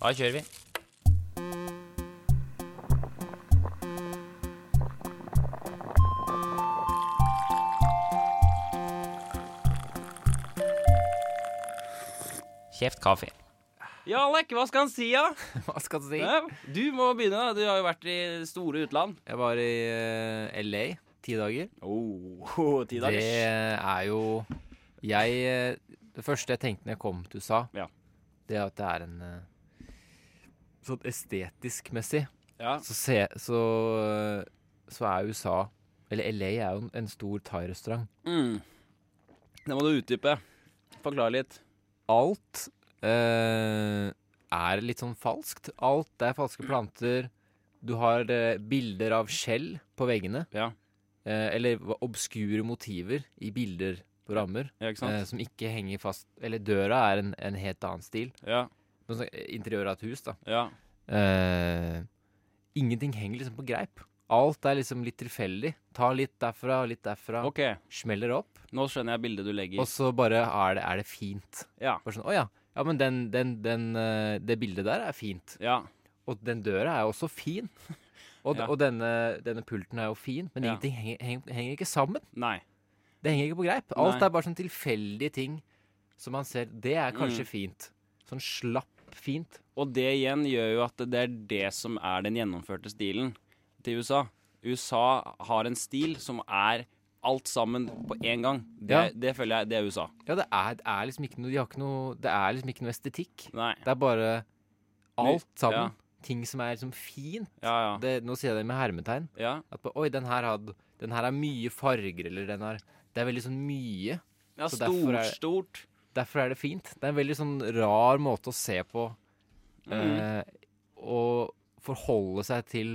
Da kjører vi. Kjeft kaffe. Ja, Alek, hva skal han si, da? Hva skal du si? Ja? Du må begynne. da. Du har jo vært i store utland. Jeg var i eh, LA ti dager. Oh, ti Det er jo Jeg eh, Det første jeg tenkte når jeg kom til USA, Ja. det er at det er en eh, Sånn estetisk messig Ja. så, se, så, eh, så er USA Eller LA er jo en- en stor thai-restaurant. Mm. Det må du utdype. Forklare litt. alt eh, er litt sånn falskt. Alt er falske planter. Du har eh, bilder av skjell på veggene. Ja. Eh, eller hva- obskure motiver i bilder på rammer Ja, ikke eh, sant? som ikke henger fast Eller døra er en, en helt annen stil. Ja. Noe sånt, eh, Interiør av et hus, da. ja. Eh, ingenting henger liksom på greip. Alt er liksom litt tilfeldig. Ta litt derfra, litt derfra. OK, Smeller opp. nå skjønner jeg bildet du legger. Og så bare er det, er det fint. Ja. Bare sånn, å ja, ja men den, den, den, eh, det bildet der er fint. Ja. Og den døra er jo også fin. Og, d- Ja. og denne, denne pulten er jo fin, men Ja. ingenting henger, henger, henger ikke sammen. Nei. Det henger ikke på greip. Alt Nei. er bare sånn tilfeldige ting som man ser. Det Mm. er kanskje fint. Sånn slapp fint. Og det igjen gjør jo at det er det som er den gjennomførte stilen til USA. USA har en stil som er alt sammen på én gang. Det, Ja. det føler jeg det er USA. Ja, det er, det er liksom ikke noe, de har ikke noe Det er liksom ikke noe estetikk. Nei. Det er bare alt sammen. Ja. Ting som er liksom fint. Ja, ja. Det, nå sier jeg det med hermetegn. ja. At på, Oi, den her, hadde, den her er mye farger, eller den her Det er veldig sånn mye. ja Så derfor stort, er- stort. Derfor er det fint. Det er en veldig sånn rar måte å se på. Mm. Eh, og forholde seg til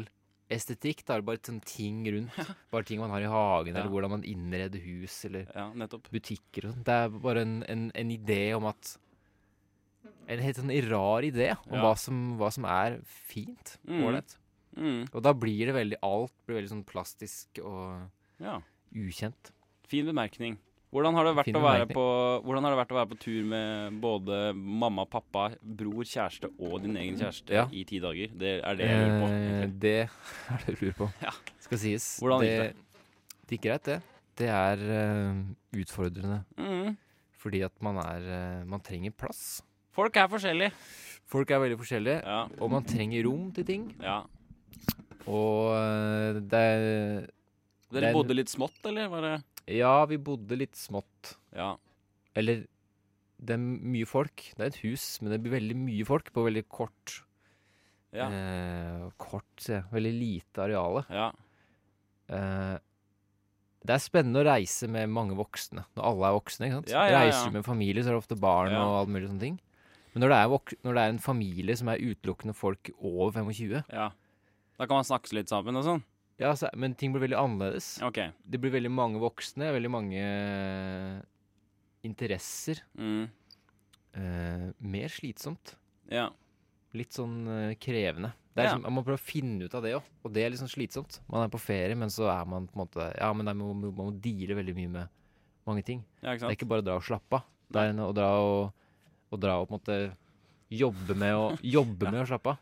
estetikk. Da er det bare sånn ting rundt. Bare ting man har i hagen, Ja. eller hvordan man innreder hus, eller Ja, nettopp. butikker og sånn. Det er bare en, en, en idé om at En helt sånn rar idé om Ja. hva, som, hva som er fint. Mm. Ålreit. Mm. Og da blir det veldig Alt blir veldig sånn plastisk og Ja. ukjent. Fin bemerkning. Hvordan har, det vært Fin å være bemerkning. på, hvordan har det vært å være på tur med både mamma, pappa, bror, kjæreste og din egen kjæreste Ja. i ti dager? Det er det jeg lurer på. Eh, egentlig. Det er det du lurer på. Ja. Skal sies. Hvordan gikk det? Det gikk greit, det. Det er eh, utfordrende. Mm. Fordi at man er eh, Man trenger plass. Folk er forskjellige. Folk er veldig forskjellige, Ja. og man trenger rom til ting. ja. Og eh, det er Dere Den- bodde litt smått, eller? Var det? Ja, vi bodde litt smått. Ja. Eller det er mye folk. Det er et hus, men det blir veldig mye folk på veldig kort Ja. eh, Kort, sier jeg. Veldig lite areale. ja. Eh, det er spennende å reise med mange voksne. Når alle er voksne. ikke sant? Ja, ja, ja. Reiser du med familie, så er det ofte barn Ja. og alt mulig sånne ting. Men når det, er vok når det er en familie som er utelukkende folk over 25 ja. Da kan man snakke litt sammen og sånn? ja, så, Men ting blir veldig annerledes. OK. Det blir veldig mange voksne, veldig mange interesser. Mm. Eh, mer slitsomt. Ja. Litt sånn eh, krevende. Det er Ja. liksom, man må prøve å finne ut av det òg, og det er litt sånn slitsomt. Man er på ferie, men så er man på en måte Ja, men det er- man må, man må deale veldig mye med mange ting. ja, ikke Det er sant? ikke bare å dra og slappe av. Det er en- å dra og, å dra og på en måte jobbe med å, jobbe med å slappe av.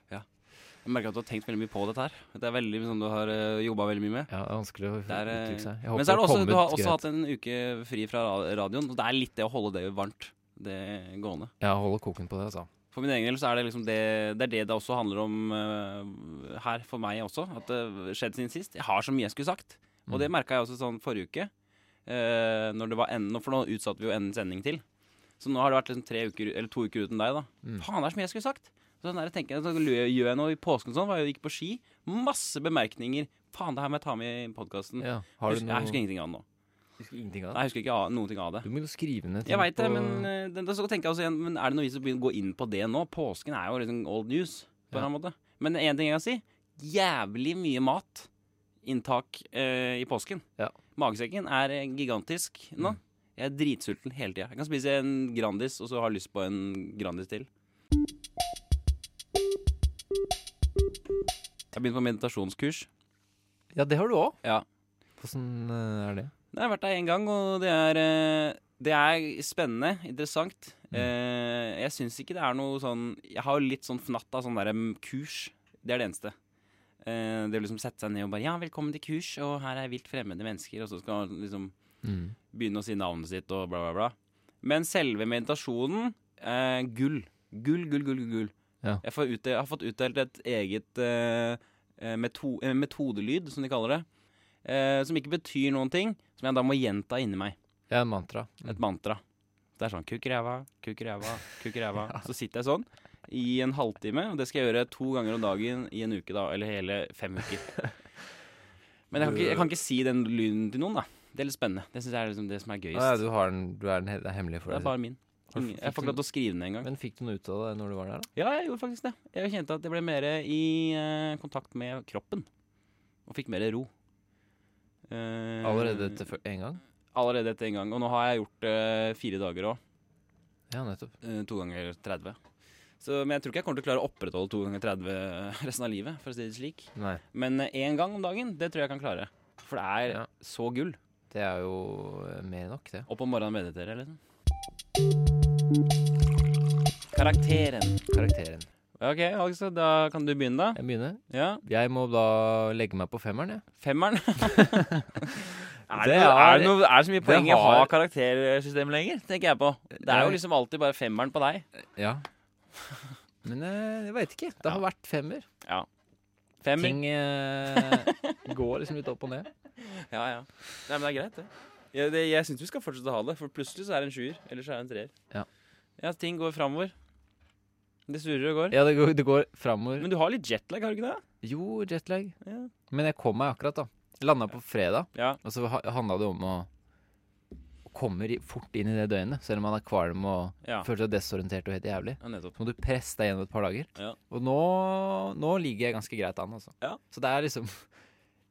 Jeg merker at du har tenkt veldig mye på dette her. Det er veldig sånn du har uh, jobba veldig mye med. Ja, det er vanskelig å Det er, eh, uttrykke seg. Jeg håper Men så er det har også, du har kommet også greit. hatt en uke fri fra ra- radioen, og det er litt det å holde det varmt. Det gående. Jeg holder koken på det, altså. For min egen del så er det liksom det det er det det også handler om eh, her for meg også. At det skjedde siden sist. Jeg har så mye jeg skulle sagt. Mm. Og det merka jeg også sånn forrige uke. eh, når det var enden, For nå utsatte vi jo enden sending til. Så nå har det vært liksom tre uker, eller to uker uten deg, da. Mm. Faen, det er så mye jeg skulle sagt! Sånn der, tenker jeg, så gjør jeg noe i påsken og sånn. Var jeg gikk på ski. Masse bemerkninger. Faen, det her må jeg ta med i podkasten. Ja, har du noe Jeg husker ingenting av det nå. husker ingenting av Nei, det? jeg husker ikke av- noen ting av det. Du må jo skrive ned ting Jeg veit det, på- men, eh, det, det, så tenker jeg også igjen, men er det noe vits i å begynne å gå inn på det nå? Påsken er jo liksom old news. på en Ja. eller annen måte. Men én ting jeg kan si. Jævlig mye mat inntak eh, i påsken. Ja. Magesekken er eh, gigantisk nå. Mm. Jeg er dritsulten hele tida. Jeg kan spise en Grandis og så har jeg lyst på en Grandis til. Jeg har begynt på meditasjonskurs. Ja, det har du òg. Ja. Åssen eh, er det? Nei, Jeg har vært der én gang, og det er, eh, det er spennende, interessant. Eh, jeg syns ikke det er noe sånn Jeg har jo litt sånn fnatt av sånn derre mm, kurs. Det er det eneste. Eh, det å liksom sette seg ned og bare Ja, velkommen til kurs, og her er vilt fremmede mennesker, og så skal man liksom begynne å si navnet sitt og bla, bla, bla. Men selve meditasjonen eh, gull. Gull, gull, gull, gull. gull. Ja. Jeg, får utdel- jeg har fått utdelt et eget eh, eh, meto eh, metodelyd, som de kaller det. Eh, som ikke betyr noen ting, som jeg da må gjenta inni meg. Ja, en mantra. Et mantra. Det er sånn kukk ræva, kukk ræva, kukk ræva. Så sitter jeg sånn i en halvtime, og det skal jeg gjøre to ganger om dagen i en uke, da. Eller hele fem uker. Men jeg kan ikke, jeg kan ikke si den lyden til noen, da. Det er litt spennende. Det syns jeg er liksom det som er Ah, ja, gøyest. du, har den, du er den he det er hemmelig for Det er deg. bare min. Har du Ingen- Jeg får ikke lov til å skrive den engang. Men fikk du noe ut av det når du var der, da? Ja, jeg gjorde faktisk det. Jeg kjente at jeg ble mer i eh, kontakt med kroppen. Og fikk mer ro. Eh, Allerede etter fø- en gang? Allerede etter en gang. Og nå har jeg gjort det fire dager òg. Ja, nettopp. Eh, To ganger 30. Så, men jeg tror ikke jeg kommer til å klare å opprettholde to ganger 30 resten av livet. for å si det slik. Nei. Men eh, én gang om dagen, det tror jeg jeg kan klare. For det er Ja. så gull. Det er jo eh, mer enn nok, det. Opp om morgenen og meditere, liksom. Karakteren. Karakteren. Ok, Alex, da kan du begynne, da. Jeg begynner. Ja. Jeg må da legge meg på femmeren, jeg. Femmeren. er det, Det er, er- det noe, er det så mye poeng i å ha har- karaktersystem lenger? Tenker jeg på. Det er jo liksom alltid bare femmeren på deg. Ja. Men eh, jeg veit ikke. Det har vært femmer. Femmer. Ting eh, går liksom litt opp og ned. Ja, ja. Nei, men det er greit, det. Jeg, det, jeg syns vi skal fortsette å ha det, for plutselig så er det en sjuer. Eller så er det en treer. Ja. ja, ting går framover. Det surrer og går. Ja, det går, det går framover. Men du har litt jetlag, har du ikke det? Jo, jetlag. Ja. Men jeg kom meg akkurat, da. Landa på fredag, Ja. og så handla det om å å komme ri- fort inn i det døgnet. Selv om man er kvalm og Ja, føler seg desorientert og helt jævlig. ja nettopp. Så må du presse deg gjennom et par dager. Ja. Og nå, nå ligger jeg ganske greit an, altså. Ja. Så det er liksom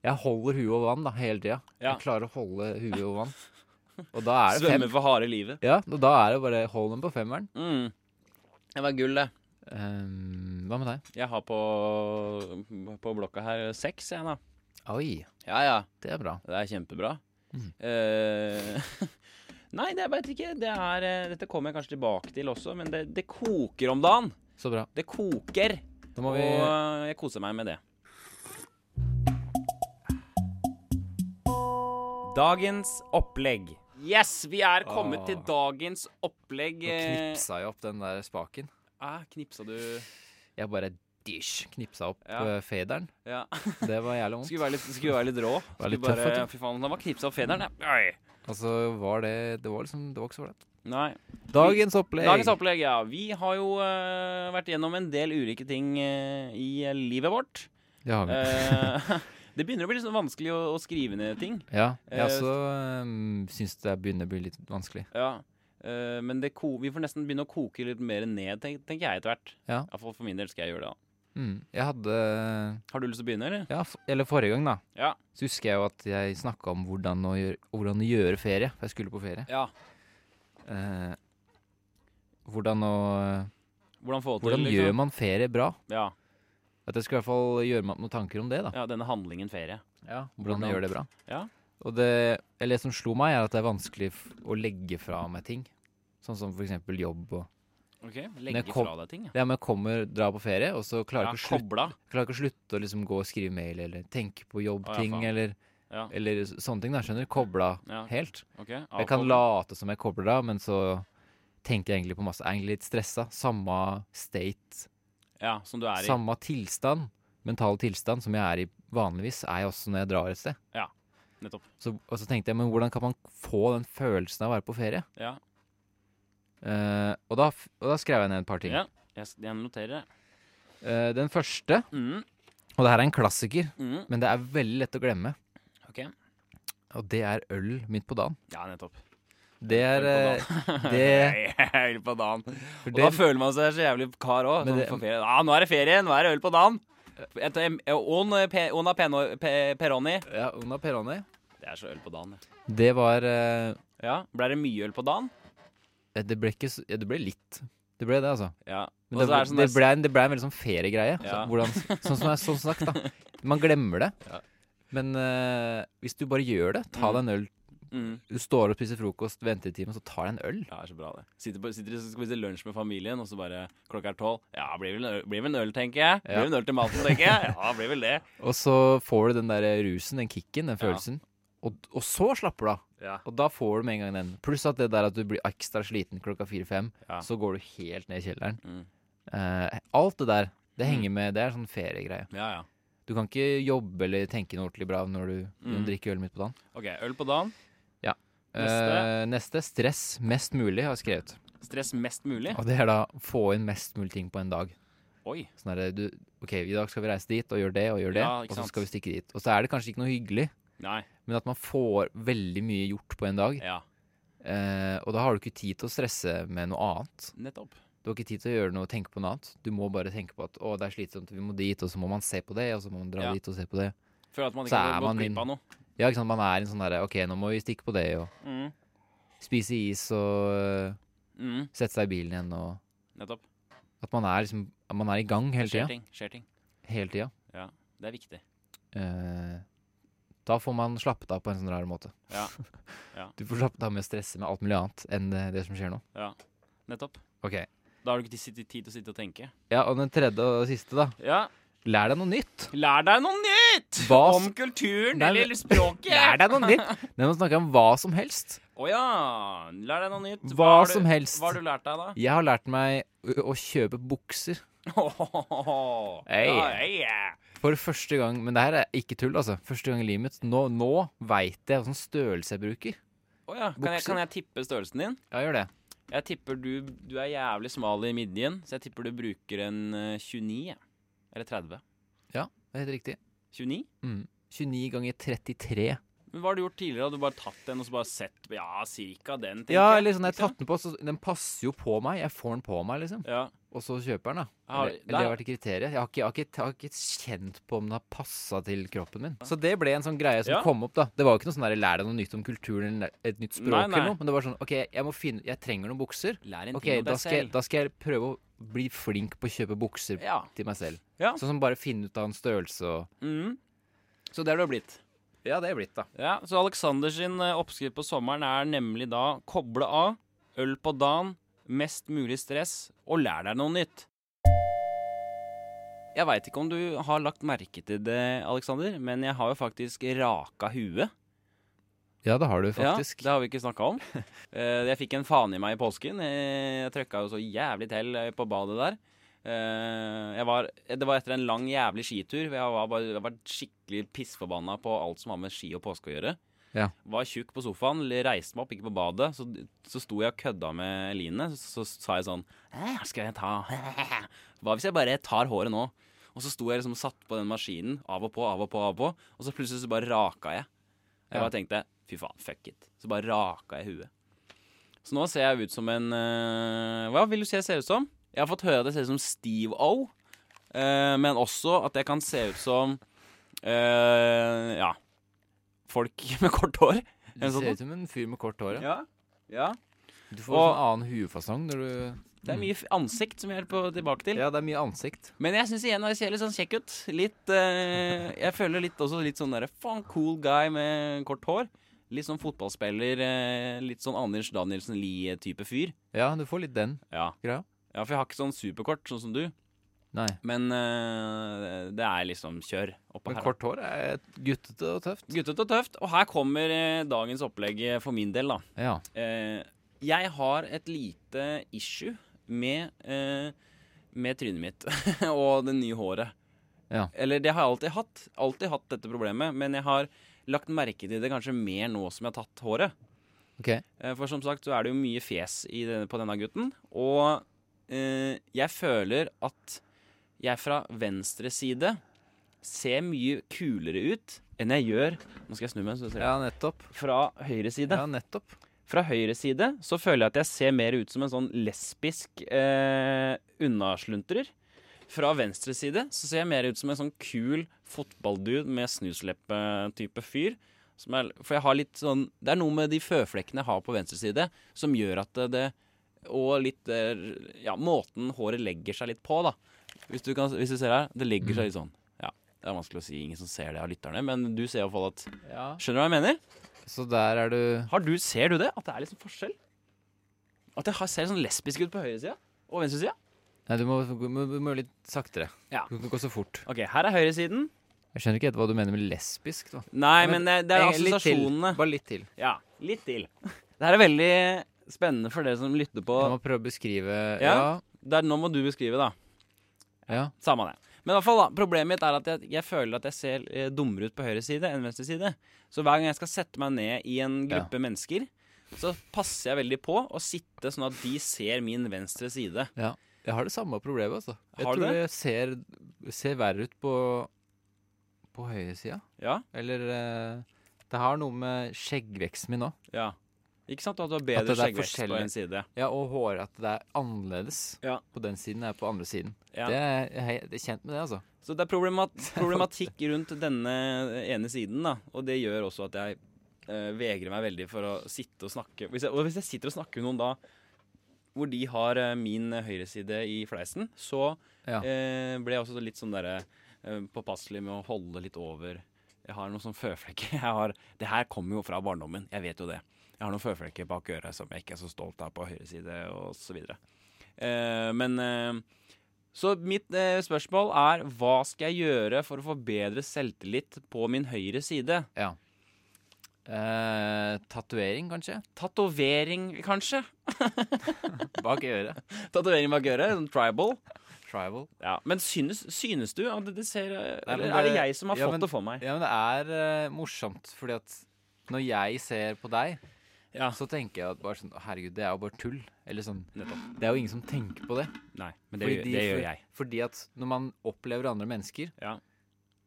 Jeg holder huet over vann da, hele tida. Ja. Jeg klarer å holde huet over vann. Og da er det fem. Svømme for harde livet. Ja, og da er det bare hold den på femmeren. Mm. Det var gull, det. Ehm, hva med deg? Jeg har på, på blokka her seks, jeg, da. Oi, Ja, ja. det er bra. Det er kjempebra. Mhm. Eh, nei, det veit ikke. Det er, eh, dette kommer jeg kanskje tilbake til også, men det, det koker om dagen. Så bra. Det koker. Da må Og vi eh, jeg koser meg med det. Dagens opplegg. Yes, vi er kommet Åh. til dagens opplegg. Nå knipsa jeg opp den der spaken. Ah, knipsa du Jeg bare dish, knipsa opp Ja. eh, faderen. Ja. Det var jævlig vondt. Skulle være litt, skulle være litt rå. Var Sånn. litt Skulle bare, tøff, vet Fy faen, han var knipsa av federen. ja. Oi. Altså, var det Det var liksom Det var ikke så ålreit. Nei. Dagens opplegg. Dagens opplegg, ja. Vi har jo eh, vært gjennom en del ulike ting eh, i eh, livet vårt. Det har vi. Eh, det begynner å bli litt sånn vanskelig å, å skrive ned ting. ja. Jeg eh, også um, syns det begynner å bli litt vanskelig. Ja. Eh, men det ko vi får nesten begynne å koke litt mer ned, tenk, tenker jeg etter hvert. Ja. Iallfall for min del skal jeg gjøre det. da. Mm. Jeg hadde Har du lyst til å begynne, eller? Ja, f eller forrige gang, da. Ja. Så husker jeg jo at jeg snakka om hvordan å, gjøre, hvordan å gjøre ferie. For jeg skulle på ferie. Ja. Eh, hvordan å Hvordan få til liksom? Hvordan gjør man ferie bra? Ja. At jeg skulle i hvert fall gjøre meg opp noen tanker om det, da. ja, denne handlingen ferie. Ja, hvordan jeg gjør det bra. Ja. Og det, eller det som slo meg, er at det er vanskelig f- å legge fra meg ting. Sånn som for eksempel jobb og Ok, Legge kom- fra deg ting. Ja. Det er med jeg kommer, drar på ferie, og så klarer Ja, jeg ikke å slutte, Kobla. klarer ikke å slutte å liksom gå og skrive mail eller tenke på jobbting Å, ja, faen. eller, Ja. eller s- sånne ting. da, skjønner du? Kobla Ja. helt. ok. Jeg kan avkobla. late som jeg kobler av, men så tenker jeg egentlig på masse. Jeg er egentlig litt stressa. Samme state, Ja, Som du er i. samme tilstand, mental tilstand som jeg er i vanligvis, er jeg også når jeg drar et sted. Nettopp. Så, og så tenkte jeg, men hvordan kan man få den følelsen av å være på ferie? Ja. Eh, og, da, f- og da skrev jeg ned et par ting. ja. Jeg, s- jeg noterer. Eh, den første, Mm, og det her er en klassiker, mm, men det er veldig lett å glemme, ok. og det er øl midt på dagen. Ja, nettopp. Det er Øl eh, det, Øl på dagen. for Og det, da føler man seg så jævlig kar òg. Men Sånn det- for ferie. ah, nå er det ferie, nå er det øl på dagen. Et- em- On eh, pe- on a peno- pe- Peroni. ja, Una Peroni. Det er så øl på dagen, det. Det var eh, Ja, Ble det mye øl på dagen? Det ble ikke så- ja, Det ble litt. Det ble det, altså. Ja. Men det, Og så er det ble- sånn det, der- ble, en- det ble en veldig sånn feriegreie. Ja. Så, hvordan, sånn som jeg sånn sagt, da. Man glemmer det. Ja. Men eh, hvis du bare gjør det, ta deg en øl Mm. Du står opp, spiser frokost, venter i timen, så tar du en øl. Ja, det er så bra det. Sitter, på, sitter og skal spise lunsj med familien, og så bare klokka er tolv. Ja, blir vel, en øl- blir vel en øl, tenker jeg. Blir Ja. vel en øl til maten, tenker jeg. Ja, blir vel det. Og så får du den der rusen, den kicken, den Ja. følelsen. Og, og så slapper du av. Ja. Og da får du med en gang den. Pluss at det der at du blir ekstra sliten klokka fire-fem, Ja. så går du helt ned i kjelleren. Mm. Eh, alt det der, det henger med. Det er sånn feriegreie. Ja, ja. Du kan ikke jobbe eller tenke noe ordentlig bra når du, når Mm. du drikker øl midt på dagen. Ok, øl på dagen. Eh, neste stress mest mulig, har jeg skrevet. Stress mest mulig. Og det er da få inn mest mulig ting på en dag. Oi. Sånn er det, du, OK, i dag skal vi reise dit og gjøre det og gjøre det, Ja, ikke og så sant. skal vi stikke dit. Og så er det kanskje ikke noe hyggelig, Nei. men at man får veldig mye gjort på en dag. Ja. Eh, og da har du ikke tid til å stresse med noe annet. Nettopp. Du har ikke tid til å gjøre noe og tenke på noe annet. Du må bare tenke på at å, det er slitsomt, vi må dit, og så må man se på det, og så må man dra Ja. dit og se på det. Føler at man Så ikke er har man gått din- glipp av noe. Ja, ikke sant, man er i en sånn derre OK, nå må vi stikke på det, og Mm. spise is og øh, Mm. sette seg i bilen igjen, og Nettopp. At man er liksom at man er i gang hele tida. Skjer ting. Skjer ting. Hele tida. Det er viktig. Eh, da får man slappet av på en sånn rar måte. Ja. Ja. Du får slappet av med å stresse med alt mulig annet enn det, det som skjer nå. Nettopp. Ok. Da har du ikke tid tid til å sitte og tenke. Ja, og den tredje og siste, da. Ja. Lær deg noe nytt! Lær deg noe nytt! Hva Om kulturen Nei, men- eller språket. Lær deg noe nytt! Den må snakke om hva som helst. Å ja. Lær deg noe nytt. Hva har du- som helst. Hva har du lært deg, da? Jeg har lært meg å- å kjøpe bukser Hey. Ja, hey. for første gang. Men det her er ikke tull, altså. Første gang i livet mitt. Nå, nå veit jeg hvilken størrelse jeg bruker. Å ja. Kan, jeg, Bukser. kan jeg tippe størrelsen din? Ja, gjør det. Jeg tipper du, du er jævlig smal i midjen, så jeg tipper du bruker en eh, 29. jeg. Eller 30. Det er helt riktig. 29? Mm. 29 ganger 33. Men Hva har du gjort tidligere? Hadde du bare tatt den og så bare sett Ja, cirka den, tenker Ja, jeg. eller sånn, jeg har liksom. tatt den på, så den passer jo på meg. Jeg får den på meg, liksom. Ja. Og så kjøper jeg den, da. Har- Eller, eller det har der- vært kriteriet. Jeg har ikke, jeg har ikke, jeg har ikke kjent på om den har passa til kroppen min. Så det ble en sånn greie som Ja. kom opp, da. Det var jo ikke noe sånn der, lær deg noe nytt om kulturen eller et nytt språk Nei, nei. eller noe. Men det var sånn OK, jeg må finne Jeg trenger noen bukser. Lær en OK, ting om da deg skal, jeg, selv. da skal jeg prøve å bli flink på å kjøpe bukser Ja. til meg selv. Ja. Sånn som bare finne ut av en størrelse og Mm. Så det har du blitt. Ja, det er blitt, da. Ja, Så Alexander sin eh, oppskrift på sommeren er nemlig da koble av, øl på dagen, mest mulig stress, og lær deg noe nytt. Jeg veit ikke om du har lagt merke til det, Alexander, men jeg har jo faktisk raka huet. Ja, det har du faktisk. Ja, det har vi ikke snakka om. Eh, jeg fikk en faen i meg i påsken. Eh, Jeg trøkka jo så jævlig til eh, på badet der. Eh, jeg var, det var etter en lang jævlig skitur. hvor Jeg var, bare, jeg var skikkelig pissforbanna på alt som har med ski og påske å gjøre. Ja. Var tjukk på sofaen, reiste meg opp, gikk på badet. Så, så sto jeg og kødda med Eline. Så, så sa jeg sånn «Eh, Skal jeg ta Hva hvis jeg bare tar håret nå? Og så sto jeg liksom og satt på den maskinen av og på, av og på, av og på. Og så plutselig så bare raka jeg. Jeg Ja. bare tenkte fy faen, fuck it. Så bare raka jeg huet. Så nå ser jeg ut som en eh, Hva vil du si jeg ser ut som? Jeg har fått høre at jeg ser ut som Steve O. eh, men også at jeg kan se ut som eh, Ja. Folk med kort hår. Du En sånn- ser ut som en fyr med kort hår. Ja. Ja. ja. Du får en Og- sånn annen huefasong når du Det er mye f- ansikt som vi er på tilbake til. Ja, det er mye ansikt. Men jeg syns igjen at jeg ser litt sånn kjekk ut. Litt eh, Jeg føler litt også litt sånn derre faen cool guy med kort hår. Litt sånn fotballspiller, eh, litt sånn Anders Danielsen Lie-type fyr. Ja, du får litt den. Ja. Greia. ja, for jeg har ikke sånn superkort, sånn som du. Nei. Men eh, det er liksom kjør oppå Men her. kort hår er guttete og tøft. Guttete og tøft. Og her kommer eh, dagens opplegg eh, for min del, da. Ja. Eh, jeg har et lite issue med, eh, med trynet mitt og det nye håret. Ja. Eller det har jeg alltid hatt. Alltid hatt dette problemet, men jeg har lagt merke til det kanskje mer nå som jeg har tatt håret. Ok. Eh, For som sagt så er det jo mye fjes i denne, på denne gutten. Og eh, jeg føler at jeg fra venstre side ser mye kulere ut enn jeg gjør Nå skal jeg snu meg, så ser jeg. Ja, nettopp. Fra høyre side. Ja, nettopp. Fra høyre side så føler jeg at jeg ser mer ut som en sånn lesbisk eh, unnasluntrer. Fra venstre side så ser jeg mer ut som en sånn kul fotballdude med snusleppe-type fyr. Som er, for jeg har litt sånn Det er noe med de føflekkene jeg har på venstre side, som gjør at det, det Og litt eh, Ja, måten håret legger seg litt på, da. Hvis du, kan, hvis du ser her, det legger seg litt sånn. Ja, Det er vanskelig å si, ingen som ser det av lytterne, men du ser iallfall at Ja. Skjønner du hva jeg mener? Så der er du Har du, ser du det? At det er liksom forskjell? At det har- ser sånn lesbisk ut på høyresida og venstresida? Nei, du må, du må, du må litt saktere. Ja. Du kan ikke gå så fort. Ok, her er høyresiden. Jeg skjønner ikke helt hva du mener med lesbisk. da Nei, Men men det, det er Eh, litt til. assosiasjonene. Bare litt til. Ja, litt til. Det her er veldig spennende for dere som lytter på. Du må prøve å beskrive Ja. Ja. Det er, nå må du beskrive, da. ja. Samme det. Men i hvert fall da, problemet mitt er at jeg, jeg føler at jeg ser eh, dummere ut på høyre side enn venstre side. Så hver gang jeg skal sette meg ned i en Ja. gruppe mennesker, så passer jeg veldig på å sitte sånn at de ser min venstre side. Ja. Jeg har det samme problemet, altså. Jeg Har du tror det? jeg ser, ser verre ut på, på høyresida. Ja, Eller eh, Det har noe med skjeggveksten min òg. ja. Ikke sant? At du har At bedre det er skjeggvekst på forskjellig. en side. Ja, og hår, at det er annerledes Ja. på den siden enn på andre siden. Ja. Det er, jeg er helt- jeg er kjent med det, altså. Så det er problemat problematikk rundt denne ene siden, da. Og det gjør også at jeg eh, vegrer meg veldig for å sitte og snakke. Hvis jeg, og hvis jeg sitter og snakker med noen da hvor de har eh, min høyreside i fleisen, så Ja. eh, ble jeg også litt sånn derre eh, påpasselig med å holde litt over Jeg har noen sånne føflekker. Jeg har, det her kommer jo fra barndommen, jeg vet jo det. Jeg har noen føflekker bak øret som jeg ikke er så stolt av på høyre side, og så videre. Eh, men eh, så mitt eh, spørsmål er hva skal jeg gjøre for å få bedre selvtillit på min høyre side? Eh, Tatovering, kanskje? Tatovering, kanskje? Bak øret. Tatovering bak øret? Sånn tribal? Tribal. Ja, Men synes, synes du at det ser eh, Nei, men Eller er det det- jeg som har ja, fått men- det for meg? Ja, men det er eh, morsomt, fordi at når jeg ser på deg, Ja. så tenker jeg at bare sånn, «Å, herregud, det er jo bare tull. Eller sånn, Nettopp. det er jo ingen som tenker på det. Nei, men det, Fordi gjør- de- det gjør jeg. Fordi at når man opplever andre mennesker, Ja.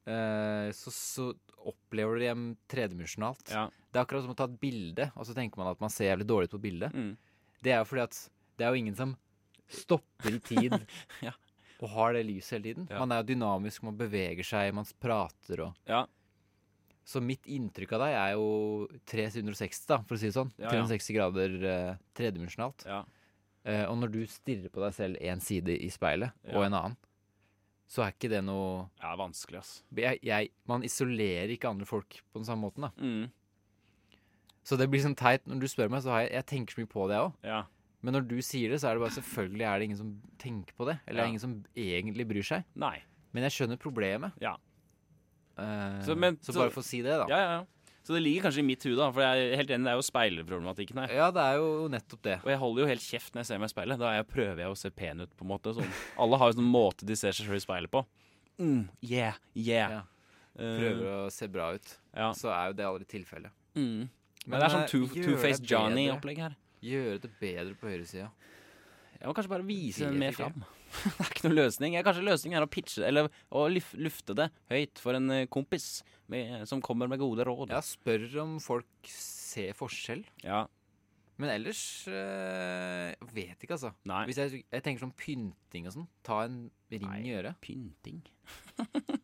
eh, så, så opplever de dem tredimensjonalt. Ja. Det er akkurat som å ta et bilde, og så tenker man at man ser jævlig dårlig ut på bildet. Mm. Det er jo fordi at det er jo ingen som stopper i tid Ja. og har det lyset hele tiden. Ja. Man er jo dynamisk, man beveger seg, man prater og ja. Så mitt inntrykk av deg er jo 360, da, for å si det sånn. Ja, ja. 360 grader eh, tredimensjonalt. Ja. Eh, og når du stirrer på deg selv én side i speilet Ja. og en annen, så er ikke det noe Ja, vanskelig, ass. jeg, jeg, Man isolerer ikke andre folk på den samme måten, da. Mm. Så det blir sånn teit når du spør meg, så har jeg, jeg tenker så mye på det, jeg òg. Ja. Men når du sier det, så er det bare selvfølgelig er det ingen som tenker på det. Eller det Ja. er ingen som egentlig bryr seg. Nei. Men jeg skjønner problemet. Ja. Eh, Så, så, men- så- bare for å si det, da. Ja, ja, ja. Så det ligger kanskje i mitt hode, da, for jeg er helt enig, det er jo speilproblematikken her. ja, det er jo nettopp det. Og jeg holder jo helt kjeft når jeg ser meg i speilet. Da er jeg, prøver jeg å se pen ut, på en måte. Sånn. Alle har jo sånn måte de ser seg selv i speilet på. Mm, yeah, yeah. Eh, Ja. Prøver å se bra ut. ja. så er jo det aldri tilfellet. Mm. Men, det er sånn two, eh, gjør Two-Face det bedre. Johnny-opplegg her. Gjøre det bedre på høyresida. Jeg må kanskje bare vise Fire, den mer fire. fram. Det er ikke noen løsning. Jeg, kanskje løsningen er å pitche det, eller å luf- lufte det høyt for en eh, kompis med, som kommer med gode råd. Ja, spør om folk ser forskjell. Ja. Men ellers eh, jeg vet ikke, altså. Nei. Hvis jeg, jeg tenker sånn pynting og sånn. Ta en ring Nei. i øret. Pynting.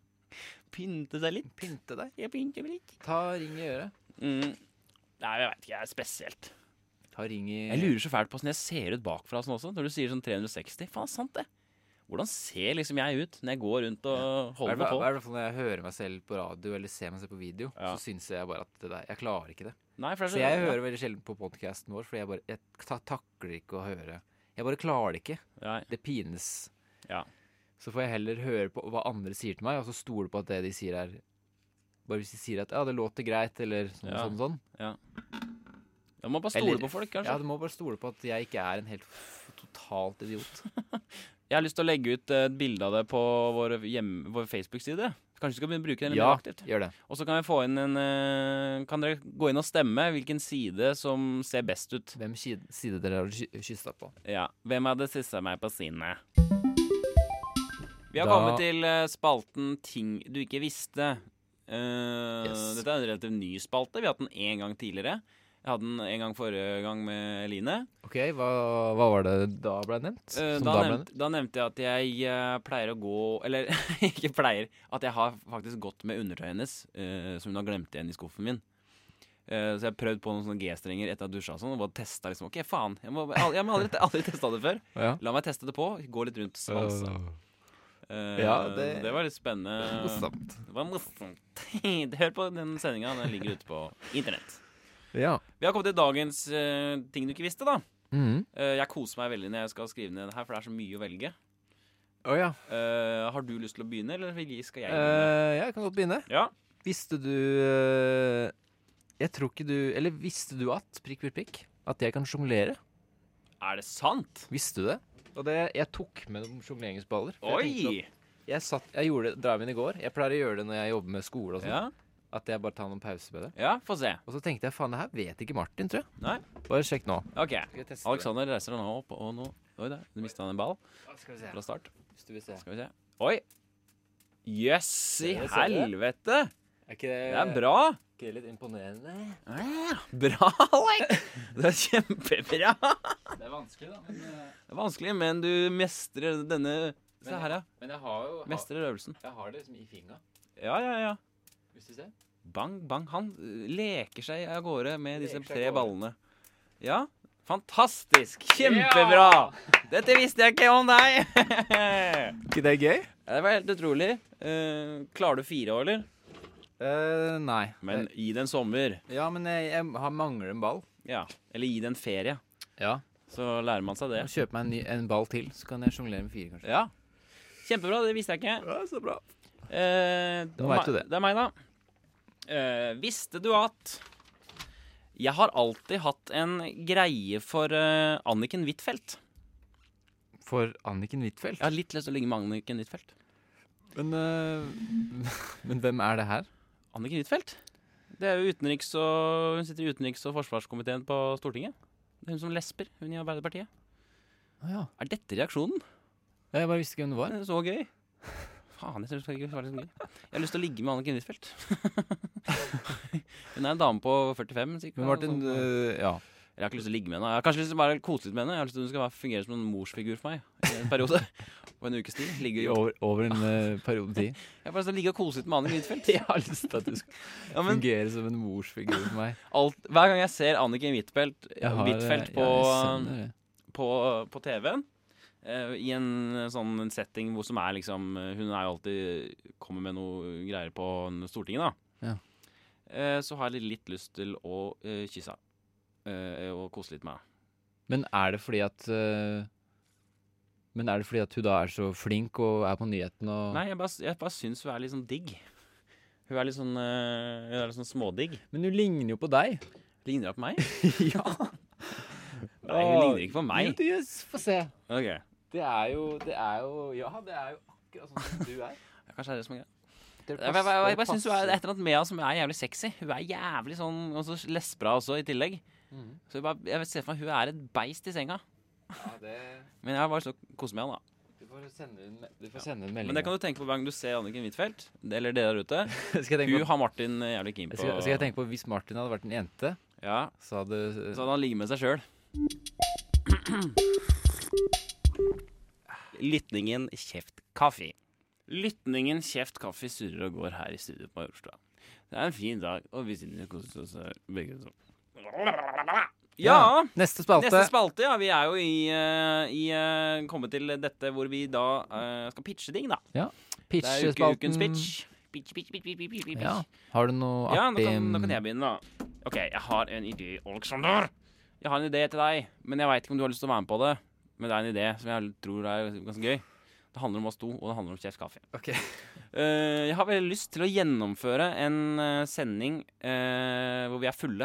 Pynte seg litt. Pynte deg. Jeg pynter meg litt. Ta ring i øret. Mm. Nei, jeg veit ikke. Jeg er spesielt. Ta ring i Jeg lurer så fælt på hvordan jeg ser ut bakfra sånn også. Når du sier sånn 360. Faen, sant det. Hvordan ser liksom jeg ut når jeg går rundt og I holder hvert meg fall- på? i hvert fall når jeg hører meg selv på radio eller ser meg selv på video, Ja. så syns jeg bare at det der, jeg klarer ikke det. Nei, for det Så er jeg så- hører veldig sjelden på podkasten vår, for jeg, bare, jeg ta, takler ikke å høre. Jeg bare klarer det ikke. Nei. Det pines. Ja. Så får jeg heller høre på hva andre sier til meg, og så stole på at det de sier er Bare hvis de sier at ja, det låter greit, eller sånn Ja. sånn sånn. Jeg må bare stole Eller- på folk, Ja, kanskje. du må bare stole på at jeg ikke er en helt f- totalt idiot. Jeg har lyst til å legge ut eh, et bilde av det på vår, hjem- vår Facebook-side. Kanskje vi skal begynne å bruke den litt Ja, mer aktivt. gjør det. Og så kan vi få inn en eh, Kan dere gå inn og stemme hvilken side som ser best ut? Hvem side, side dere har kyssa på? Ja. Hvem hadde sissa meg på sinnet? Vi har Da- kommet til eh, spalten Ting du ikke visste. Eh, Yes. Dette er en relativt ny spalte. Vi har hatt den én gang tidligere. Jeg hadde den en gang forrige gang med Eline. OK, hva, hva var det da ble nevnt? Eh, Som da, ble nevnte, da nevnte jeg at jeg eh, pleier å gå Eller ikke pleier. At jeg har faktisk gått med undertøyet hennes, eh, som hun har glemt igjen i skuffen min. Eh, så jeg har prøvd på noen sånne G-strenger etter at jeg dusja og sånn, og bare testa liksom. OK, faen. Jeg, må, jeg, har aldri, aldri testa det før. Ja. La meg teste det på. Gå litt rundt svansen. Eh, ja, det... det- var litt spennende. Morsomt. Det var morsomt. Hør på den sendinga. Den ligger ute på internett. Ja. Vi har kommet til dagens eh, ting du ikke visste, da. Mhm. Eh, jeg koser meg veldig når jeg skal skrive ned det her, for det er så mye å velge. Å ja. Eh, har du lyst til å begynne, eller vil- skal jeg begynne? Eh, jeg kan godt begynne. ja. Visste du eh, Jeg tror ikke du Eller visste du at prikk, prikk, prikk At jeg kan sjonglere? Er det sant? Visste du det? Og det, jeg tok med noen sjongleringsballer. for Jeg, tenkte Oi! at- jeg, satt, jeg gjorde det drive-in i går. Jeg pleier å gjøre det når jeg jobber med skole. og sånn Ja, At jeg bare tar noen pauser med det. ja få se. Og så tenkte jeg faen, det her vet ikke Martin, tror jeg. Nei. Bare sjekk nå. OK. Skal jeg teste Alexander reiser deg nå opp, og nå Oi der, du mista en ball det? Skal vi se. fra start. Hvis du vil se. Skal vi se. Oi! Jøss i Ser du, ser du? helvete! Er ikke det, Det er bra! Ikke det litt imponerende? Bra, Alek! Det er kjempebra. Det er vanskelig, da. Men, eh, Det er vanskelig, men du mestrer denne Se her, ja. men jeg har jo Mestrer øvelsen. Jeg har det liksom i fingra, Ja, ja, ja. hvis du ser. Bang, bang. Han eh, leker seg av gårde med disse Leker seg av tre gårde. ballene. Ja. Fantastisk! Kjempebra! Dette visste jeg ikke om deg! Ja, Ikke det gøy? det var helt utrolig. Eh, klarer du fire år, eller? Eh, nei. Eh, Men gi det en sommer. Ja, men jeg, jeg har- mangler en ball. Ja. Eller gi det en ferie. Ja. Så lærer man seg det. Og kjøpe meg en, ny, en ball til, så kan jeg sjonglere med fire, kanskje. Ja. Kjempebra. Det visste jeg ikke. Ja, så bra. Eh, det Nå var vet du meg- det. Det er meg, da. Eh, visste du at Jeg har alltid hatt en greie for eh, Anniken Huitfeldt. For Anniken Huitfeldt. Jeg har litt lyst til å ligge med Anniken Huitfeldt. Men, øh, men hvem er det her? Anniken Huitfeldt? Det er jo utenriks- og Hun sitter i utenriks- og forsvarskomiteen på Stortinget. Det er hun som lesber, hun i Arbeiderpartiet. Å ja. Er dette reaksjonen? Jeg bare visste ikke hvem det var. Det er så gøy. Faen, jeg synes det skal være så gøy. Jeg har lyst til å ligge med Anniken Huitfeldt. Hun er en dame på 45, sikkert. Men Martin, Sånn. øh, ja. Jeg har ikke lyst til å ligge med henne. Jeg har kanskje lyst til å bare kose litt med henne. Jeg har lyst til at Hun skal bare fungere som en morsfigur for meg i en periode. På en ukes tid. Ligge og Over, over en øh, periode tid. Jeg har bare lyst til å ligge og kose litt med Anniken Huitfeldt. Jeg har lyst til at du skal Ja, men fungere som en morsfigur for meg. alt, hver gang jeg ser Anniken Huitfeldt Jeg har, øh, Huitfeldt ja, på, jeg skjønner det. på, på TV-en eh, i en eh, sånn setting hvor som er liksom eh, Hun er jo alltid kommer med noe greier på Stortinget, da. Ja. Eh, Så har jeg litt lyst til å eh, kysse henne. eh, Og kose litt med henne. Men er det fordi at øh, Men er det fordi at hun da er så flink og er på nyhetene og Nei, jeg bare, jeg bare syns hun er litt sånn digg. Hun er litt sånn, eh, hun er litt sånn smådigg. Men hun ligner jo på deg. Ligner hun på meg? ja. Nei, hun ligner ikke på meg. Jo, du, Få se. Ok, Det er jo Det er jo Ja, det er jo akkurat sånn som du er. ja, Kanskje det er det som er greia. Jeg, jeg, jeg, jeg bare syns hun er det er et eller annet med henne som er jævlig sexy. Hun er jævlig sånn Og så lesbra også, i tillegg. Mhm. Så jeg, bare, jeg ser for meg hun er et beist i senga. Ja, det, Men jeg har bare så koser med henne, da. du får sende en, me- du får sende en melding. Men det kan du tenke på hver gang du ser Anniken Huitfeldt, det- eller dere der ute. skal, jeg Hun tenke på, har Martin eh, jævlig keen på skal, skal jeg tenke på hvis Martin hadde vært en jente, Ja, så hadde Så hadde sånn han ligget med seg sjøl. Lytningen kjeft kaffe. Lytningen kjeft kaffe surrer og går her i studio på Majorstua. Det er en fin dag, og vi sitter og koser oss her begge to. Ja! Neste spalte. Neste spalte, ja. Vi er jo i, eh, i eh, kommet til dette hvor vi da eh, skal pitche ting, da. Det er uke, Pitchespalten. ukens pitch. Pitch, pitch, pitch, pitch, pitch, pitch, pitch. Ja. Har du noe Ja, nå artig kan, nå kan jeg begynne, da. OK, jeg har en idé, Alexander. Jeg har en idé til deg, men jeg veit ikke om du har lyst til å være med på det. Men det er en idé som jeg tror er ganske gøy. Det handler om oss to, og det handler om Chef Kaffe. Ok. Eh, jeg har veldig lyst til å gjennomføre en eh, sending eh, hvor vi er fulle.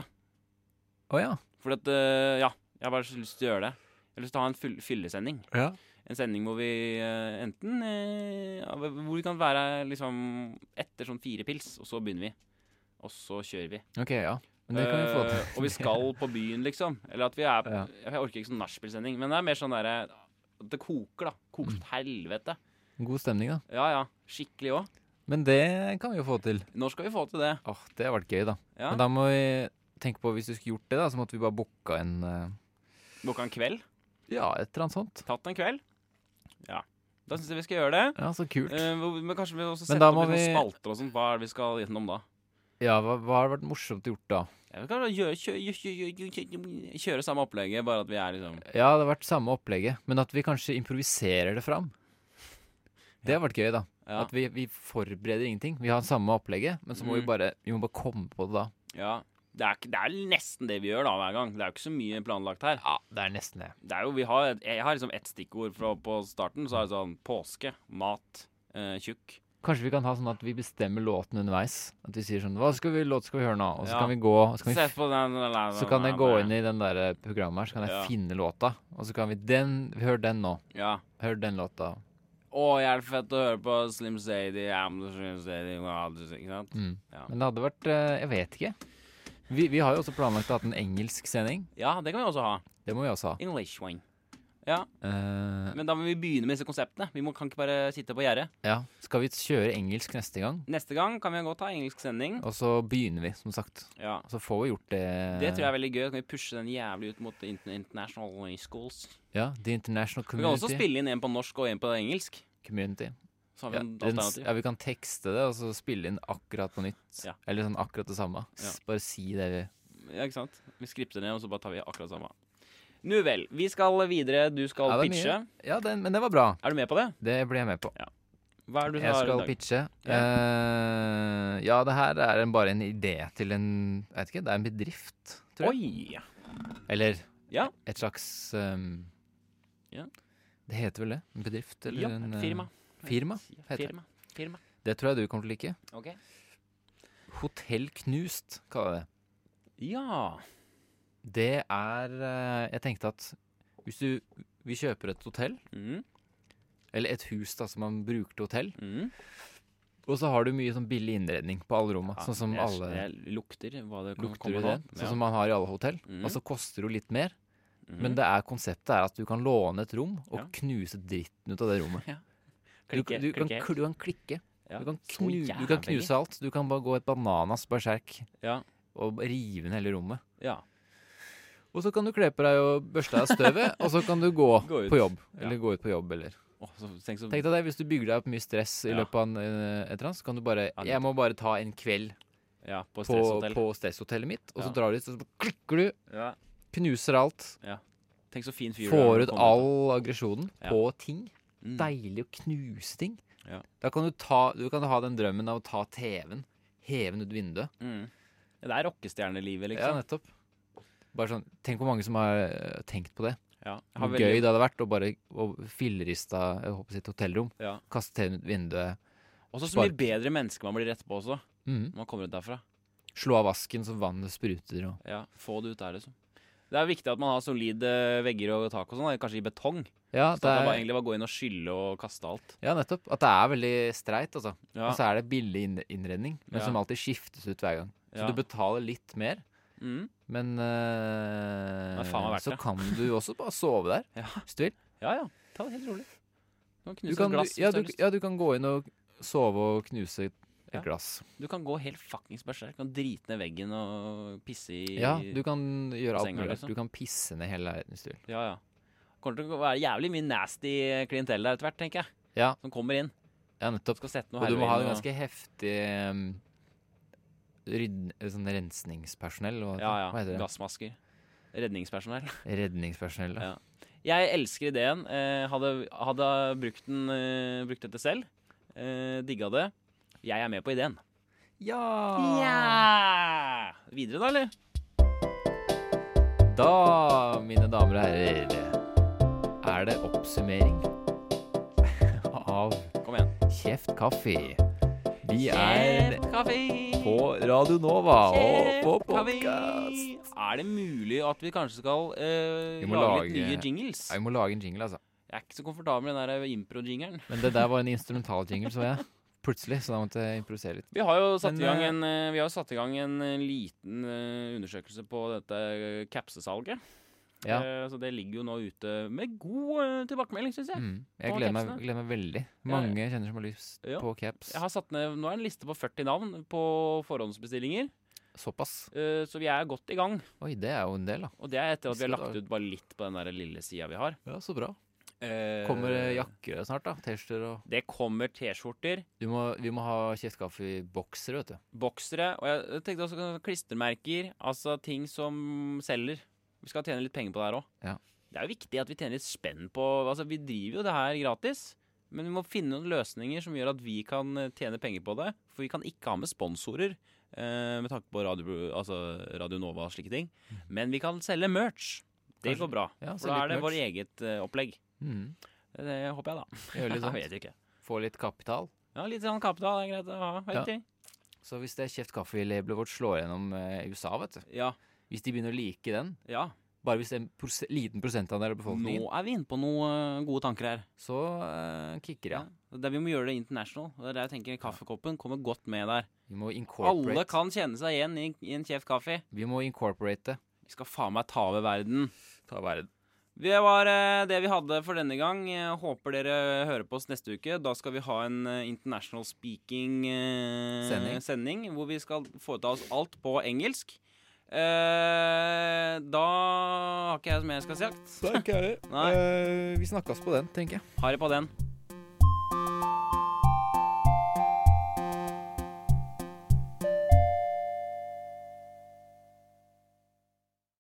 Å ja. For at eh, Ja, jeg har bare så lyst til å gjøre det. Jeg har lyst til å ha en fyll fyllesending. ja. En sending hvor vi eh, enten eh, ja, Hvor vi kan være liksom etter sånn fire pils, og så begynner vi. Og så kjører vi. Ok, ja. Men det kan vi få til. Eh, og vi skal på byen, liksom. Eller at vi er Ja. Jeg orker ikke sånn nachspiel-sending, men det er mer sånn derre at Det koker, da. Mm. Koker som et helvete. God stemning, da. Ja ja. Skikkelig òg. Men det kan vi jo få til. Når skal vi få til det? Åh, Det har vært gøy, da. Ja. Men da må vi tenke på, hvis du skulle gjort det, da, så måtte vi bare booka en eh, Boka en kveld? Ja, et eller annet sånt. Tatt en kveld? Ja. Da syns jeg vi skal gjøre det. Ja, så kult. Eh, hvor- men kanskje vi også Men setter da opp må litt sånn vi- spalter og sånn. Hva er det vi skal gjennom da? Ja, hva, hva har vært morsomt gjort da? Ja, vi kan gjøre, kjøre, kjøre, kjøre, kjøre samme opplegget, bare at vi er liksom Ja, det har vært samme opplegget, men at vi kanskje improviserer det fram. Det har vært gøy, da. Ja. At vi, vi forbereder ingenting. Vi har samme opplegget, men så må vi Mm. bare, vi må bare komme på det da. ja. det, er, ikke- det er nesten det vi gjør da hver gang. Det er jo ikke så mye planlagt her. Ja, det er nesten det. Det er jo, vi har, jeg har liksom ett stikkord fra, på starten. Så er det sånn påske, mat, eh, tjukk. Kanskje vi kan ha sånn at vi bestemmer låten underveis. At vi sier sånn Hva skal vi, låt skal vi høre nå? Og så Ja. kan vi gå og så kan, Se vi, på den så kan jeg gå inn i den der eh, programmet her, så kan jeg Ja. finne låta. Og så kan vi den Hør den nå. Ja. Hør den låta. Å, jeg er fett å høre på Slim Sadie, I'm the Slim Sadie wow, du- Ikke sant? Mm. Ja. Men det hadde vært eh, Jeg vet ikke. Vi, vi har jo også planlagt å ha en engelsk sending. Ja, det kan vi også ha. Det må vi også ha. English one. Eh, Men da må vi begynne med disse konseptene. Vi må, kan ikke bare sitte på gjerdet. ja. Skal vi kjøre engelsk neste gang? Neste gang kan vi godt ha engelsk sending. Og så begynner vi, som sagt. Ja. Og så får vi gjort det Det tror jeg er veldig gøy. Kan vi pushe den jævlig ut mot inter- international schools? Ja, The International Vi kan også Community. spille inn en på norsk og en på engelsk. community. Så har vi Ja, en den, s- alternativ. ja, vi kan tekste det, og så spille inn akkurat på nytt. Ja. Eller sånn akkurat det samme. S- Bare si det vi Ja, ikke sant? Vi skripter ned, og så bare tar vi akkurat samme. Nu vel. Vi skal videre. Du skal Ja, det er mye. pitche. Ja, den, men det var bra. Er du med på det? Det blir jeg med på. Hva er det du Jeg har i skal dag? pitche. Eh, ja, det her er en, bare en idé til en Jeg vet ikke, det er en bedrift, tror jeg. Oi! Eller Ja. et slags um, Ja. Det heter vel det? En bedrift? Eller Ja, en, eh, et firma. firma? heter det. Firma. Firma. Det tror jeg du kommer til å like. Ok. Hotell Knust, kaller jeg det. Ja. Det er eh, Jeg tenkte at hvis du Vi kjøper et hotell, Mm. eller et hus da som man bruker til hotell, Mm. og så har du mye sånn billig innredning på alle rommene, sånn som jeg, alle Jeg lukter hva det Mm. kan lukter komme i det, sånn som man har i alle hotell. Og så koster det jo litt mer, Mhm. men det er konseptet er at du kan låne et rom og Mm. Ja. knuse dritten ut av det rommet. Du, klikke, du, kan, klikke. kl- du kan klikke, Ja, du, kan så knu, du kan jævlig. knuse alt. Du kan bare gå et bananas berserk Ja. og rive ned hele rommet. Ja. Og så kan du kle på deg og børste av støvet, og så kan du gå, Gå ut. på jobb. Ja. Eller gå ut på jobb, eller Åh, så, tenk så, Tenk deg det, hvis du bygger deg opp mye stress i Ja. løpet av en, eh, et eller annet, så kan du bare Ja, Jeg må bare ta en kveld ja, på, på stresshotell. på stresshotellet mitt, og så Ja. drar du dit, og så klikker du, Ja. knuser alt, Tenk så fin fyr du er når får du ut kommer all aggresjonen Ja. på ting. Mm. Deilig å knuse ting. Ja. Da kan du ta Du kan ha den drømmen av å ta TV-en, heve den ut vinduet. Mm. Ja, Det er rockestjernelivet, Ja, liksom. nettopp. Bare sånn Tenk hvor mange som har eh, tenkt på det. Ja, jeg har Hvor veldig- gøy det hadde vært å bare å fillerista jeg håper å si, et hotellrom, Ja. kaste TV-en ut vinduet, Og så så mye Spark. bedre menneske man blir etterpå også, mhm. når man kommer ut derfra. slå av vasken så vannet spruter og Ja, Få det ut der, liksom. Det er viktig at man har solide vegger og tak og sånn, da, kanskje i betong. Ja, Så det at man bare, er, egentlig bare går inn og skylle og kaste alt. ja, nettopp. At det er veldig streit, altså. Ja, Og så er det billig inn- innredning, men Ja. som alltid skiftes ut hver gang. Så ja. du betaler litt mer, Mm. men eh, Det er faen meg verdt så det. kan du også bare sove der Ja. hvis du vil. ja, ja. Ta det helt rolig. Du Du kan knuse kan, et glass ja, hvis du, du har lyst. ja, du kan gå inn og sove og knuse et Ja. glass. Du kan gå helt fuckings bæsj Du kan drite ned veggen og pisse i Ja, du kan gjøre alt senga, mulig. liksom. Du kan pisse ned hele leiligheten hvis du vil. ja, ja. Kommer til å være jævlig mye nasty klientell der etter hvert, tenker jeg. Ja. Som kommer inn. Ja, nettopp. Skal sette noe Og du må ha en heroin og- ganske heftig um, rydd, sånn rensningspersonell. Hva, Ja, ja. hva heter det? Gassmasker. Redningspersonell. Redningspersonell. Ja. Ja. Jeg elsker ideen. Eh, hadde, hadde brukt, den, eh, brukt dette selv. Eh, digga det. Jeg er med på ideen. Ja! Videre, da, eller? Da, mine damer og herrer, er det oppsummering av Kom igjen. Kjeft kaffe. Vi er kaffe! på Radio Nova og på Kjeft kaffe! podkast. Er det mulig at vi kanskje skal eh, Vi må lage, litt lage- nye jingles? Jeg må lage en jingle, altså. Jeg er ikke så komfortabel med den der impro-jingeren. Men det der var en instrumental jingle, så jeg. Plutselig, så da måtte jeg improvisere litt. Vi har jo satt, Men, i, gang eh, en, eh, vi har jo satt i gang en eh, liten eh, undersøkelse på dette eh, capsesalget. Ja. Eh, Så det ligger jo nå ute med god eh, tilbakemelding, syns jeg. Mm. Jeg På gleder meg, capsene. gleder meg veldig. Ja, ja. Mange jeg kjenner som har lyst Ja. på caps. Jeg har satt ned, Nå er det en liste på 40 navn på forhåndsbestillinger, Såpass. eh, så vi er godt i gang. Oi, det er jo en del, da. Og det er etter at vi har Skal lagt ut bare litt på den der lille sida vi har. Ja, så bra. Eh, Kommer eh, jakker snart, da. T-skjorter og Det kommer T-skjorter, du må, Vi må ha kjeftkaffeboksere, vet du. boksere, og jeg tenkte også sånn klistremerker. Altså ting som selger. Vi skal tjene litt penger på det her òg. Ja. Det er jo viktig at vi tjener litt spenn på Altså, vi driver jo det her gratis. Men vi må finne noen løsninger som gjør at vi kan eh, tjene penger på det. For vi kan ikke ha med sponsorer eh, med tanke på radio, altså radio Nova og slike ting. Mm. Men vi kan selge merch. Det Kanskje. går bra. Ja, For da selge er det Altså merch. vår eget eh, opplegg. Mm. Det håper jeg, da. Gjør litt Jeg sånt. vet ikke. Få litt kapital. Ja, Litt sånn kapital er greit å ha. Ja. vet du. Så hvis det Kjeft kaffe-labelet vårt slår gjennom eh, i USA, vet du Ja. Hvis de begynner å like den, ja. bare hvis det er en pros liten prosentandel av befolkningen, Nå er vi inne på noen gode tanker her. så eh, kicker det. Ja. Det er Vi må gjøre det international. Det er der jeg tenker Kaffekoppen kommer godt med der. Vi må Alle incorporate, kan kjenne seg igjen i, i en kjeft kaffe. vi må incorporate det. Vi skal faen meg ta over verden. Ta verden. Det var eh, det vi hadde for denne gang. Jeg håper dere hører på oss neste uke. Da skal vi ha en eh, international speaking eh, Sending. hvor vi skal foreta oss alt på engelsk. Eh, da har ikke jeg så mer jeg skal si. Takk, herre. Nei. vi snakkes på den, tenker jeg. Harry på den.